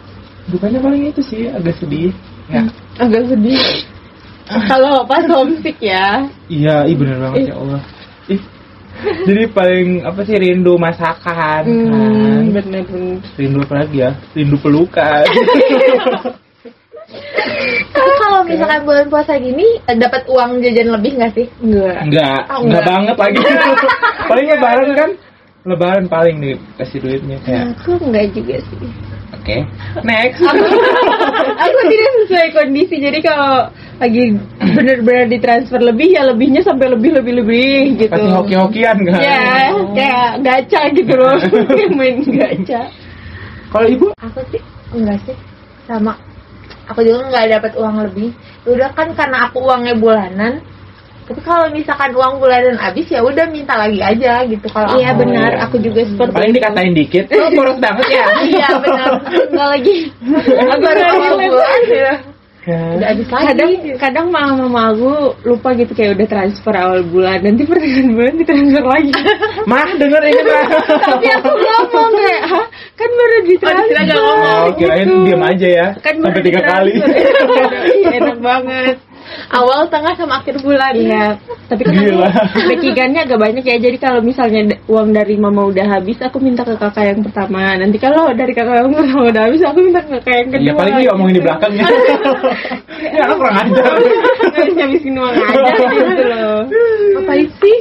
Speaker 4: Bukannya paling itu sih agak sedih. Ya.
Speaker 5: agak sedih
Speaker 3: Ah.
Speaker 5: kalau pas homesick ya
Speaker 4: Iya, ih bener banget ya Allah. Ih. Jadi paling apa sih rindu masakan kan?
Speaker 5: hmm, bener bener
Speaker 4: Rindu apa lagi ya? Rindu
Speaker 5: <laughs>
Speaker 4: pelukan.
Speaker 3: Tapi kalau misalkan bulan puasa gini eh, dapat uang jajan lebih nggak sih?
Speaker 5: enggak
Speaker 4: Enggak,
Speaker 3: Oh,
Speaker 4: enggak
Speaker 3: enggak.
Speaker 4: banget
Speaker 5: <laughs>
Speaker 4: lagi.
Speaker 5: Iya.
Speaker 4: paling lebaran kan? Lebaran paling dikasih duitnya kayak
Speaker 5: aku enggak juga sih
Speaker 1: Oke. Next.
Speaker 3: <laughs>
Speaker 5: aku tidak sesuai kondisi jadi kalau lagi bener-bener ditransfer lebih ya lebihnya sampai lebih lebih lebih gitu
Speaker 4: Pasti hoki-hokian kan?
Speaker 5: ya
Speaker 3: Oh.
Speaker 5: kayak gacha gitu loh <laughs> main gacha
Speaker 4: Kalau ibu?
Speaker 3: aku sih enggak sih sama aku juga nggak dapat uang lebih udah kan karena aku uangnya bulanan tapi kalau misalkan uang bulanan habis ya udah minta lagi aja gitu kalau
Speaker 5: iya
Speaker 3: aku-
Speaker 5: benar aku juga seperti
Speaker 4: Paling dikatain dikit. Lu boros banget
Speaker 5: <laughs>
Speaker 4: ya.
Speaker 3: iya benar
Speaker 5: nggak lagi
Speaker 3: aku baru awal bulan ya.
Speaker 4: Kan?
Speaker 3: udah habis lagi
Speaker 5: kadang kadang mama mama aku lupa gitu kayak udah transfer awal bulan nanti pertengahan bulan ditransfer
Speaker 3: <laughs>
Speaker 5: lagi
Speaker 4: Mah denger ini mah.
Speaker 5: tapi aku ngomong kayak "Hah, kan baru ditransfer
Speaker 3: nggak
Speaker 4: Oh, kirain
Speaker 5: gitu.
Speaker 4: diam aja ya.
Speaker 5: kan baru
Speaker 4: Sampai tiga kali.
Speaker 5: ditransfer. <laughs> Iya, enak banget
Speaker 3: awal tengah sama akhir bulan
Speaker 5: iya tapi kan
Speaker 4: Gila. <laughs>
Speaker 5: aku backingannya agak banyak ya jadi kalau misalnya da- uang dari mama udah habis aku minta ke kakak yang pertama nanti kalau dari kakak yang pertama udah habis aku minta ke kakak yang kedua gitu.
Speaker 4: Iya paling dia omongin di belakang <laughs> ya. Ya lo kurang ajar.
Speaker 5: harus ngabisin uang aja gitu loh
Speaker 3: apa sih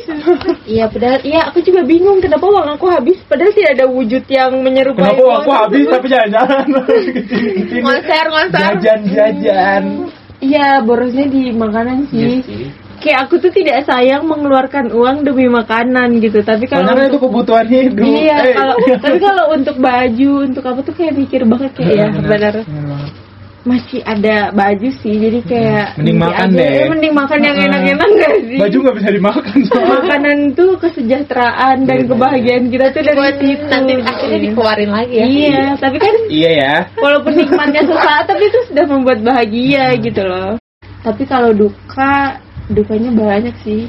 Speaker 5: Iya padahal iya aku juga bingung kenapa uang aku habis padahal tidak ada wujud yang menyerupai
Speaker 4: Kenapa
Speaker 5: uang
Speaker 4: aku habis tapi jalan-jalan
Speaker 3: Konser, konser.
Speaker 4: Jajan-jajan
Speaker 5: Iya borosnya di makanan
Speaker 1: Iya
Speaker 5: sih.
Speaker 1: sih.
Speaker 5: Kayak aku tuh tidak sayang mengeluarkan uang demi makanan gitu tapi kalau
Speaker 4: Karena kan itu
Speaker 5: untuk-
Speaker 4: kebutuhan hidup
Speaker 5: Iya
Speaker 4: Eh.
Speaker 5: kalau tapi kalau untuk baju untuk apa tuh kayak mikir banget
Speaker 4: iya.
Speaker 5: kayak ya benar masih ada baju sih jadi kayak
Speaker 4: Mending
Speaker 5: nanti
Speaker 4: makan
Speaker 5: aja,
Speaker 4: deh.
Speaker 5: eh, mending makan yang
Speaker 4: Heeh.
Speaker 5: enak-enak gak sih?
Speaker 4: Baju nggak bisa dimakan soalnya
Speaker 5: makanan tuh kesejahteraan dan
Speaker 1: Iya,
Speaker 5: kebahagiaan kita tuh dari
Speaker 3: buat
Speaker 5: situ.
Speaker 3: nanti akhirnya dikeluarin lagi ya
Speaker 5: Iya, tapi kan
Speaker 4: Iya ya
Speaker 5: walaupun nikmatnya sesaat tapi itu sudah membuat bahagia
Speaker 4: Iya.
Speaker 5: gitu loh tapi kalau duka dukanya banyak sih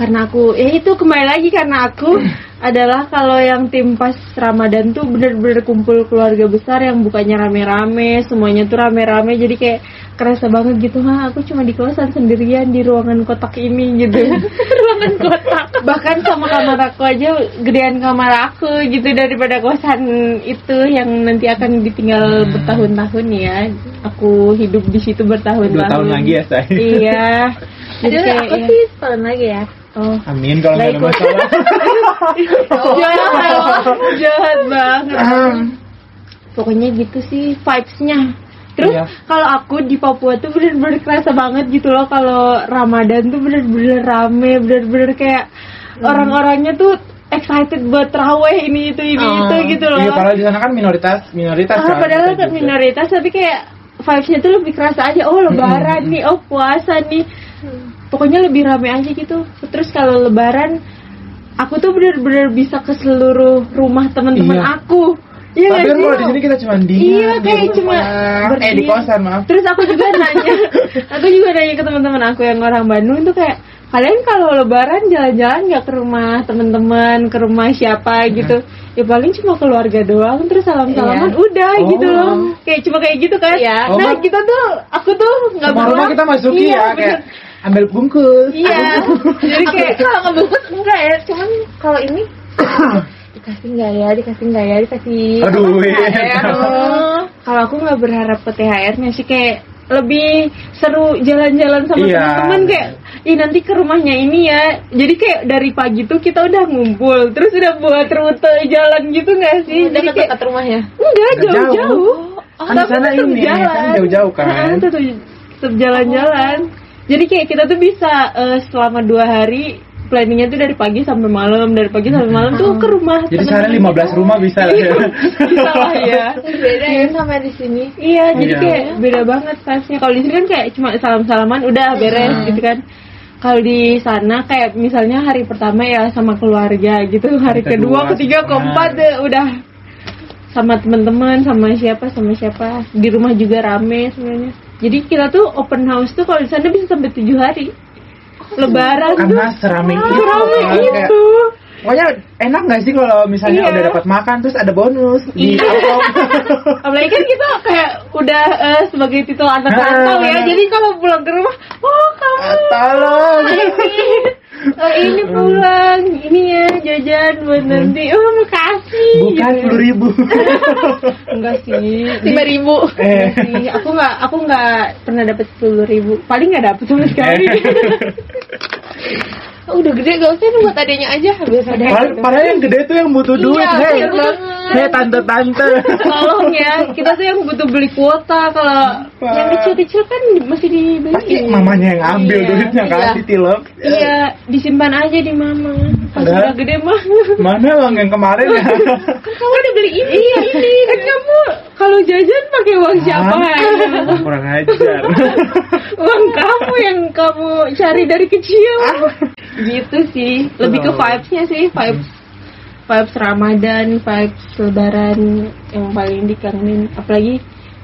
Speaker 5: karena aku ya itu kembali lagi karena aku
Speaker 4: <laughs>
Speaker 5: adalah kalau yang tim pas Ramadan tuh bener-bener kumpul keluarga besar yang bukannya rame-rame semuanya tuh rame-rame jadi kayak kerasa banget gitu ha aku cuma di kosan sendirian di ruangan kotak ini
Speaker 4: <laughs>
Speaker 5: gitu ruangan kotak bahkan sama kamar aku aja gedean kamar aku gitu daripada kosan itu yang nanti akan
Speaker 4: Hmm.
Speaker 5: ditinggal bertahun-tahun ya aku hidup di situ bertahun-tahun
Speaker 4: Dua tahun lagi ya saya <laughs>
Speaker 5: iya Jadi
Speaker 3: Aduh,
Speaker 5: kayak,
Speaker 3: aku
Speaker 5: ya.
Speaker 3: sih setahun lagi ya
Speaker 5: oh
Speaker 4: Amin kalau nggak ada masalah
Speaker 5: jahat jahat banget pokoknya gitu sih vibes-nya terus
Speaker 4: Iya.
Speaker 5: kalau aku di Papua tuh bener-bener kerasa banget gitu loh kalau Ramadan tuh bener-bener rame bener-bener kayak orang-orangnya tuh excited buat teraweh ini itu ini itu gitu loh
Speaker 4: Iya padahal di sana kan minoritas Minoritas
Speaker 5: Ah,
Speaker 4: kan
Speaker 5: padahal
Speaker 4: kita
Speaker 5: kan
Speaker 4: juga.
Speaker 5: minoritas tapi kayak vibes-nya tuh lebih kerasa aja. Oh, lebaran nih, oh puasa nih. Pokoknya lebih rame aja gitu. Terus kalau lebaran aku tuh bener-bener bisa ke seluruh rumah teman-teman
Speaker 4: Iya.
Speaker 5: aku. Iya
Speaker 4: Tapi
Speaker 5: nggak
Speaker 4: kan
Speaker 5: sih?
Speaker 4: kalau di sini kita cuma gitu. di
Speaker 5: Iya, kayak
Speaker 4: rumah.
Speaker 5: cuma
Speaker 4: Eh di
Speaker 5: berdiam.
Speaker 4: kosan maaf
Speaker 5: Terus aku
Speaker 4: <laughs>
Speaker 5: juga nanya, aku juga nanya ke teman-teman aku yang orang Bandung tuh kayak kalian kalau lebaran jalan-jalan nggak ke rumah teman-teman, ke rumah siapa
Speaker 4: Hmm.
Speaker 5: gitu. Ya paling cuma keluarga doang terus salam-salaman
Speaker 3: Iya.
Speaker 5: udah
Speaker 4: Oh.
Speaker 5: gitu loh. Kayak cuma kayak gitu kan.
Speaker 3: Iya.
Speaker 4: Oh,
Speaker 5: Nah,
Speaker 4: kan-
Speaker 5: kita tuh aku tuh nggak
Speaker 4: Rumah rumah
Speaker 5: berhak-
Speaker 4: kita masuki
Speaker 5: Iya,
Speaker 4: ya
Speaker 5: bener.
Speaker 4: Kayak ambil bungkus
Speaker 5: Iya. Jadi
Speaker 3: Aku
Speaker 5: kayak
Speaker 3: sih kalau ngebungkus enggak ya cuman kalau
Speaker 5: <coughs>
Speaker 3: ini dikasih enggak ya dikasih enggak ya dikasih ya?
Speaker 4: Aduh
Speaker 5: iya. <laughs> Oh, kalau aku nggak berharap ke THR-nya sih kayak lebih seru jalan-jalan sama
Speaker 4: Iya.
Speaker 5: teman-teman kayak ih nanti ke rumahnya ini ya jadi kayak dari pagi tuh kita udah ngumpul terus udah buat rute jalan gitu nggak
Speaker 3: Iya,
Speaker 5: sih jadi kayak
Speaker 3: dekat rumahnya
Speaker 5: enggak
Speaker 4: Nggak jauh.
Speaker 5: jauh-jauh
Speaker 4: Oh, kan di sana
Speaker 5: tetap
Speaker 4: ini, kan jauh-jauh kan.
Speaker 5: Heeh, tetap, tetap jalan-jalan jadi kayak kita tuh bisa eh, selama dua hari planningnya tuh dari pagi sampai malam dari pagi sampai malam tuh ke rumah
Speaker 4: Ah. Jadi
Speaker 5: teman-teman
Speaker 4: sehari 15 rumah bisa lah <laughs> ya
Speaker 5: kita Iya, lah ya
Speaker 4: <laughs>
Speaker 3: beda ya sama di sini
Speaker 5: Iya, jadi
Speaker 4: Iya.
Speaker 5: kayak beda banget vibes-nya. Kalau di sini kan kayak cuma salam-salaman udah beres gitu kan. Kalau di sana kayak misalnya hari pertama ya sama keluarga gitu, hari
Speaker 4: Kedua,
Speaker 5: kedua, ketiga, keempat
Speaker 4: nah.
Speaker 5: eh, udah sama teman-teman, sama siapa, sama siapa. Di rumah juga rame semuanya. Jadi kita tuh open house tuh kalau di sana bisa sampai tujuh hari. Lebaran tuh gitu.
Speaker 4: Karena seramai itu
Speaker 5: rame
Speaker 4: kan, kayak-
Speaker 5: itu.
Speaker 4: Pokoknya enak gak sih kalau misalnya
Speaker 5: Iya.
Speaker 4: udah dapat makan terus ada bonus di
Speaker 5: <laughs>
Speaker 4: upload?
Speaker 5: Apalagi kan kita kayak udah eh, sebagai titel anak rantau ya.
Speaker 4: Ah.
Speaker 5: Jadi kalau pulang ke rumah, oh kamu
Speaker 4: Ah, Tolong.
Speaker 5: oh, ini pulang, ini ya jajan buat nanti. Oh makasih. Gitu.
Speaker 4: Bukan puluh ribu.
Speaker 5: Enggak sih.
Speaker 3: lima ribu
Speaker 4: eh.
Speaker 5: Sih, aku nggak aku nggak pernah dapat sepuluh ribu paling nggak dapat
Speaker 4: <laughs>
Speaker 5: sama sekali
Speaker 4: Eh.
Speaker 3: udah gede gak usah buat adanya aja biasa
Speaker 5: gitu.
Speaker 4: Padahal, padahal yang gede tuh yang butuh duit,
Speaker 3: iya
Speaker 4: hei.
Speaker 3: bener banget
Speaker 5: jangan.
Speaker 4: Hei tante-tante.
Speaker 5: Tolong ya, kita tuh yang butuh beli kuota kalau yang kecil-kecil kan masih dibeli.
Speaker 4: Pasti mamanya yang ambil
Speaker 5: Iya,
Speaker 4: duitnya kan
Speaker 5: iya.
Speaker 4: si tilok.
Speaker 5: Iya, disimpan aja di mama. Pas
Speaker 4: Padahal-
Speaker 5: udah gede mah.
Speaker 4: Mana uang yang kemarin ya?
Speaker 5: <laughs> Kan kamu udah beli ini, iya <laughs> ini. Kan kamu kalau jajan pakai uang siapa?
Speaker 4: Ah, Kurang ajar.
Speaker 5: uang kamu yang kamu cari dari kecil. gitu sih, lebih ke
Speaker 4: Betul.
Speaker 5: vibes-nya sih, vibes vibes Ramadan, vibes Lebaran yang paling dikangenin. Apalagi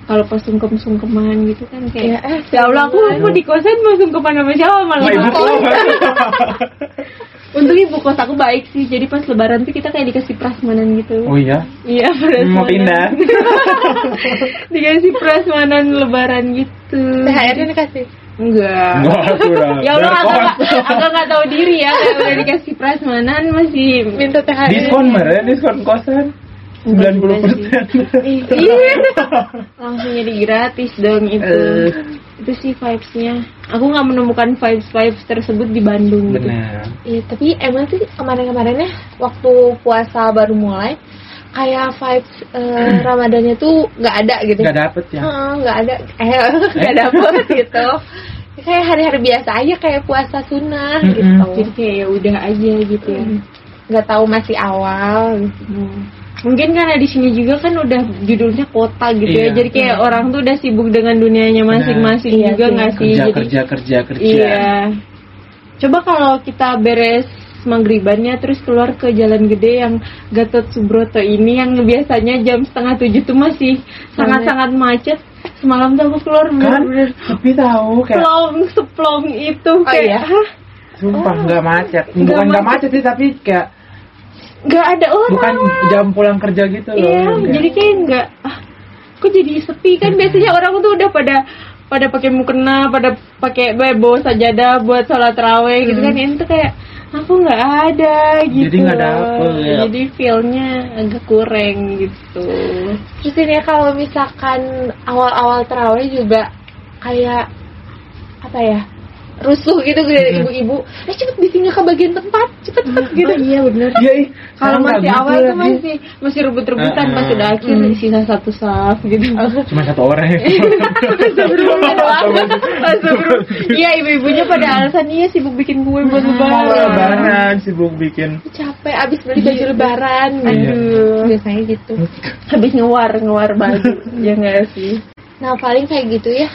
Speaker 5: kalau pas sungkem-sungkeman gitu kan kayak
Speaker 3: Ya, eh,
Speaker 5: ya Allah aku aku di kosan mau sungkeman sama siapa malah
Speaker 4: Wah, ibu
Speaker 5: aku.
Speaker 4: kok.
Speaker 5: Untung ibu kos aku baik sih. Jadi pas lebaran tuh kita kayak dikasih prasmanan gitu.
Speaker 4: Oh iya,
Speaker 5: Iya, prasmanan.
Speaker 4: mau pindah.
Speaker 5: <laughs> dikasih prasmanan lebaran gitu.
Speaker 3: THR-nya dikasih.
Speaker 5: Enggak.
Speaker 4: Wah, kurang.
Speaker 5: Ya Allah,
Speaker 4: Biar
Speaker 5: agak
Speaker 4: kos.
Speaker 5: agak nggak tahu diri ya. Kayak udah dikasih prasmanan masih
Speaker 3: Minta THR.
Speaker 4: Diskon merah, diskon kosan. 90 persen.
Speaker 5: Iya. Langsung jadi gratis dong itu.
Speaker 4: Eh.
Speaker 5: Itu sih vibes-nya. Aku nggak menemukan vibes-vibes tersebut di Bandung. gitu.
Speaker 4: Benar.
Speaker 3: Iya, tapi emang sih kemarin-kemarin ya waktu puasa baru mulai kayak vibes
Speaker 4: <clears throat>
Speaker 3: eh, Ramadannya tuh nggak ada gitu.
Speaker 4: Gak dapet ya.
Speaker 5: Iya,
Speaker 3: Heeh, nggak ada, <laughs> eh, nggak dapet gitu. Kayak hari-hari biasa aja kayak puasa sunnah
Speaker 4: Mm-mm.
Speaker 3: gitu.
Speaker 5: Jadi kayak ya udah aja gitu ya.
Speaker 3: Nggak tahu masih awal. gitu.
Speaker 5: Hmm. Mungkin karena di sini juga kan udah judulnya kota gitu
Speaker 4: Iya.
Speaker 5: ya. Jadi kayak orang tuh udah sibuk dengan dunianya masing-masing
Speaker 3: Iya
Speaker 5: juga
Speaker 3: sih.
Speaker 5: nggak sih?
Speaker 4: Kerja,
Speaker 5: Jadi-
Speaker 4: kerja, kerja, kerja.
Speaker 5: Iya. Coba kalau kita beres maghribannya terus keluar ke jalan gede yang Gatot Subroto ini yang biasanya jam setengah tujuh tuh masih sangat-sangat macet. Semalam tuh aku keluar
Speaker 4: Kan,
Speaker 5: bener-bener
Speaker 4: tapi tahu kayak
Speaker 5: seplong seplong itu
Speaker 3: Oh,
Speaker 5: kayak
Speaker 3: iya?
Speaker 5: "Hah?
Speaker 4: Sumpah nggak macet. Bukan nggak macet sih tapi kayak
Speaker 5: nggak ada orang.
Speaker 4: bukan jam pulang kerja gitu loh.
Speaker 5: Iya,
Speaker 4: Kayak-
Speaker 5: jadi kayak nggak ah, kok jadi sepi kan biasanya
Speaker 4: Hmm.
Speaker 5: orang tuh udah pada pada pakai mukena, pada pakai eh, bawa sajadah buat sholat raweh gitu kan ini tuh kayak aku nggak ada gitu.
Speaker 4: Hmm. Jadi nggak dapet. ya.
Speaker 5: loh. Jadi feel-nya agak kurang gitu.
Speaker 3: Terus ini ya kalau misalkan awal-awal terawih juga kayak apa ya rusuh gitu dari ibu-ibu. Eh cepet bikinnya ke bagian tempat, cepet cepet gitu.
Speaker 5: iya bener.
Speaker 4: Iya, ih,
Speaker 5: Kalau
Speaker 4: sama
Speaker 5: masih
Speaker 4: gitu
Speaker 5: awal tuh
Speaker 4: lagi.
Speaker 5: masih masih rebut-rebutan
Speaker 4: Ah,
Speaker 5: pas
Speaker 4: ah.
Speaker 5: udah akhir sisa satu saf gitu. <laughs>
Speaker 4: cuma satu orang ya. <laughs>
Speaker 5: Sebelumnya doang.
Speaker 4: gitu.
Speaker 5: Sebelum- Iya ibu-ibunya pada alasan iya sibuk bikin kue buat
Speaker 4: Mau
Speaker 5: lebaran.
Speaker 4: Hmm. lebaran sibuk bikin.
Speaker 3: capek abis beli baju
Speaker 5: iya.
Speaker 3: lebaran
Speaker 4: Iya.
Speaker 5: Aduh,
Speaker 3: biasanya gitu
Speaker 5: Mm. habis ngewar ngewar
Speaker 4: <laughs>
Speaker 5: baju, ya nggak sih?
Speaker 3: nah paling kayak gitu
Speaker 5: <laughs>
Speaker 3: ya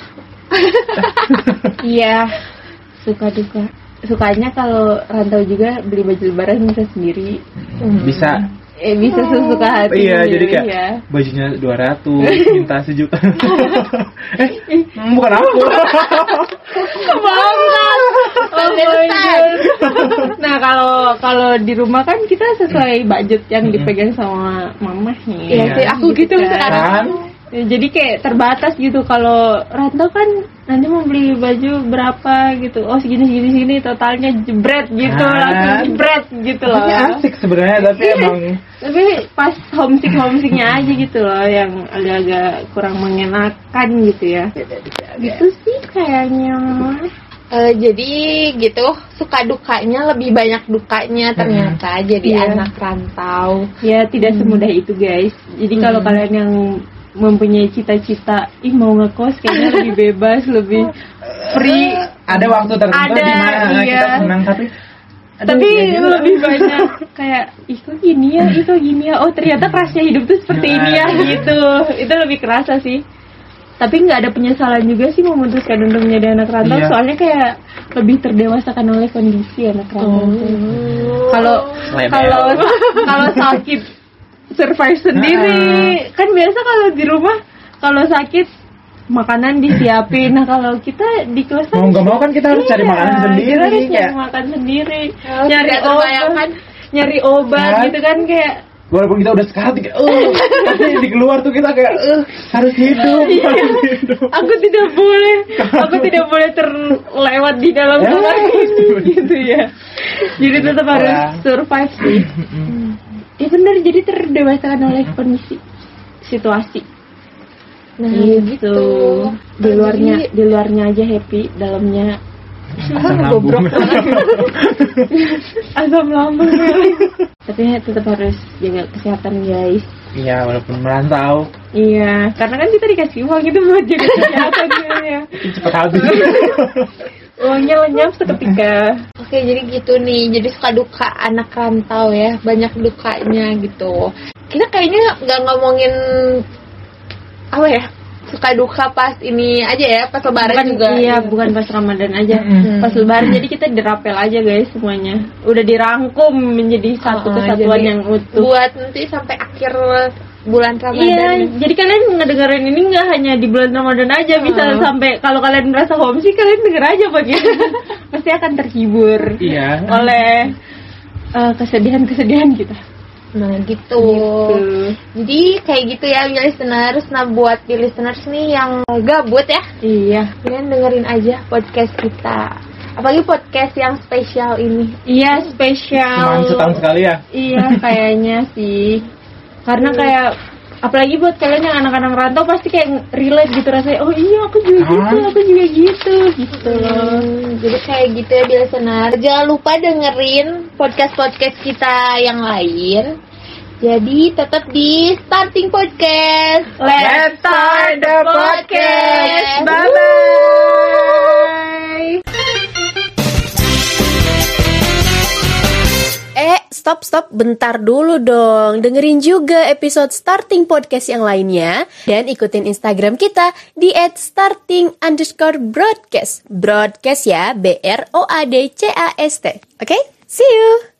Speaker 5: Iya, suka duka. Sukanya kalau rantau juga beli baju lebaran bisa sendiri,
Speaker 4: Bisa.
Speaker 5: eh, bisa sesuka Hmm. hati.
Speaker 4: iya, jadi
Speaker 5: sendiri,
Speaker 4: kayak
Speaker 5: ya.
Speaker 4: bajunya
Speaker 5: <laughs>
Speaker 4: 200, minta sejuta. eh, hmm, bukan aku.
Speaker 5: Kebanggaan. Oh my God. <laughs> Nah kalau kalau di rumah kan kita sesuai budget yang dipegang sama mama
Speaker 3: Iya
Speaker 5: nih.
Speaker 4: Iya.
Speaker 3: sih aku gitu
Speaker 5: Gitu kan.
Speaker 3: sekarang
Speaker 4: kan?
Speaker 5: Ya, jadi kayak terbatas gitu kalau rantau kan nanti mau beli baju berapa gitu oh segini segini segini totalnya jebret gitu
Speaker 4: Kan?
Speaker 5: langsung jebret gitu loh
Speaker 4: Ini Iya, asik sebenarnya tapi
Speaker 5: Iya.
Speaker 4: emang
Speaker 5: tapi pas homesick homesicknya aja gitu loh yang agak-agak kurang mengenakan gitu ya gitu sih kayaknya
Speaker 3: Eh, jadi gitu suka dukanya lebih banyak dukanya ternyata jadi
Speaker 5: Iya.
Speaker 3: anak rantau
Speaker 5: ya tidak
Speaker 4: Hmm.
Speaker 5: semudah itu guys jadi kalau kalian yang mempunyai cita-cita ih mau ngekos kayaknya lebih bebas lebih free
Speaker 4: ada waktu tertentu
Speaker 5: Ada,
Speaker 4: di mana
Speaker 5: iya.
Speaker 4: kita senang tapi aduh,
Speaker 5: tapi
Speaker 4: ya gitu.
Speaker 5: lebih banyak kayak ih kok gini ya ih kok gini ya oh ternyata kerasnya hidup tuh seperti ini ya
Speaker 4: Nah.
Speaker 5: gitu itu lebih kerasa sih tapi nggak ada penyesalan juga sih memutuskan untuk menjadi anak rantau
Speaker 4: Iya.
Speaker 5: soalnya kayak lebih terdewasakan oleh kondisi anak
Speaker 4: Oh.
Speaker 5: rantau tuh. kalau
Speaker 4: Lebel.
Speaker 5: kalau kalau sakit survive sendiri kan biasa kalau di rumah kalau sakit makanan disiapin nah kalau kita di kosan
Speaker 4: mau nggak mau kan kita harus cari
Speaker 5: Iya,
Speaker 4: makanan
Speaker 5: kita
Speaker 4: sendiri
Speaker 5: harus
Speaker 4: kayak
Speaker 5: cari makan sendiri
Speaker 3: Oh,
Speaker 5: nyari
Speaker 3: tidak terbayangkan.
Speaker 5: obat nyari obat
Speaker 4: Kan?
Speaker 5: gitu kan kayak
Speaker 4: walaupun kita udah sekarang kayak eh tapi di keluar tuh kita kayak eh harus hidup harus hidup
Speaker 5: Iya. aku tidak boleh aku tidak boleh terlewat di dalam
Speaker 4: Ya,
Speaker 5: kamar ini gitu ya jadi tetap harus
Speaker 4: Orang.
Speaker 5: survive sih ya benar jadi terdewasakan oleh kondisi situasi
Speaker 3: nah gitu
Speaker 5: gitu di
Speaker 3: Jadi,
Speaker 5: luarnya di luarnya aja happy dalamnya <laughs>
Speaker 4: Asam lambung.
Speaker 5: asam lambung tapi tetap harus jaga kesehatan guys
Speaker 4: Iya, walaupun merantau,
Speaker 5: iya karena kan kita dikasih uang gitu buat jaga kesehatan gitu ya
Speaker 4: cepat habis.
Speaker 5: uangnya lenyap seketika
Speaker 3: Oke, jadi gitu nih. Jadi suka duka anak rantau ya, banyak dukanya gitu. Kita kayaknya nggak ngomongin apa ya, suka duka pas ini aja ya, pas lebaran juga.
Speaker 5: bukan iya bukan pas ramadan aja
Speaker 4: Mm-mm.
Speaker 5: pas lebaran jadi kita dirapel aja guys semuanya udah dirangkum menjadi satu
Speaker 3: Uh-uh,
Speaker 5: kesatuan
Speaker 3: jadi
Speaker 5: yang utuh
Speaker 3: Buat nanti sampai akhir bulan
Speaker 5: Iya,
Speaker 3: Ramadan.
Speaker 5: jadi kalian ngedengerin ini nggak hanya di bulan Ramadan aja, bisa
Speaker 3: Uh-uh.
Speaker 5: sampai kalau kalian merasa homesick kalian denger aja pagi. Pasti akan terhibur
Speaker 4: Iya.
Speaker 5: oleh eh, kesedihan-kesedihan kita.
Speaker 3: Nah, gitu.
Speaker 5: Tuh.
Speaker 3: Jadi kayak gitu ya, ya listeners. Nah, buat di listeners nih yang gabut ya,
Speaker 5: Iya.
Speaker 3: kalian dengerin aja podcast kita. Apalagi podcast yang spesial ini.
Speaker 5: Iya, spesial.
Speaker 4: Cuma setahun sekali ya.
Speaker 5: Iya, kayaknya sih. Karena kayak apalagi buat kalian yang anak-anak rantau pasti kayak relate gitu rasanya. Oh iya, aku juga
Speaker 4: Hah?
Speaker 5: gitu, aku juga gitu gitu loh.
Speaker 3: Hmm, jadi kayak gitu ya di listener. Jangan lupa dengerin podcast-podcast kita yang lain. Jadi tetap di Starting Podcast.
Speaker 5: Let's start the podcast. Bye bye.
Speaker 1: Eh, stop stop bentar dulu dong. Dengerin juga episode starting podcast yang lainnya dan ikutin Instagram kita di @starting underscore broadcast. Broadcast ya, B R O A D C A S T. Oke, see you.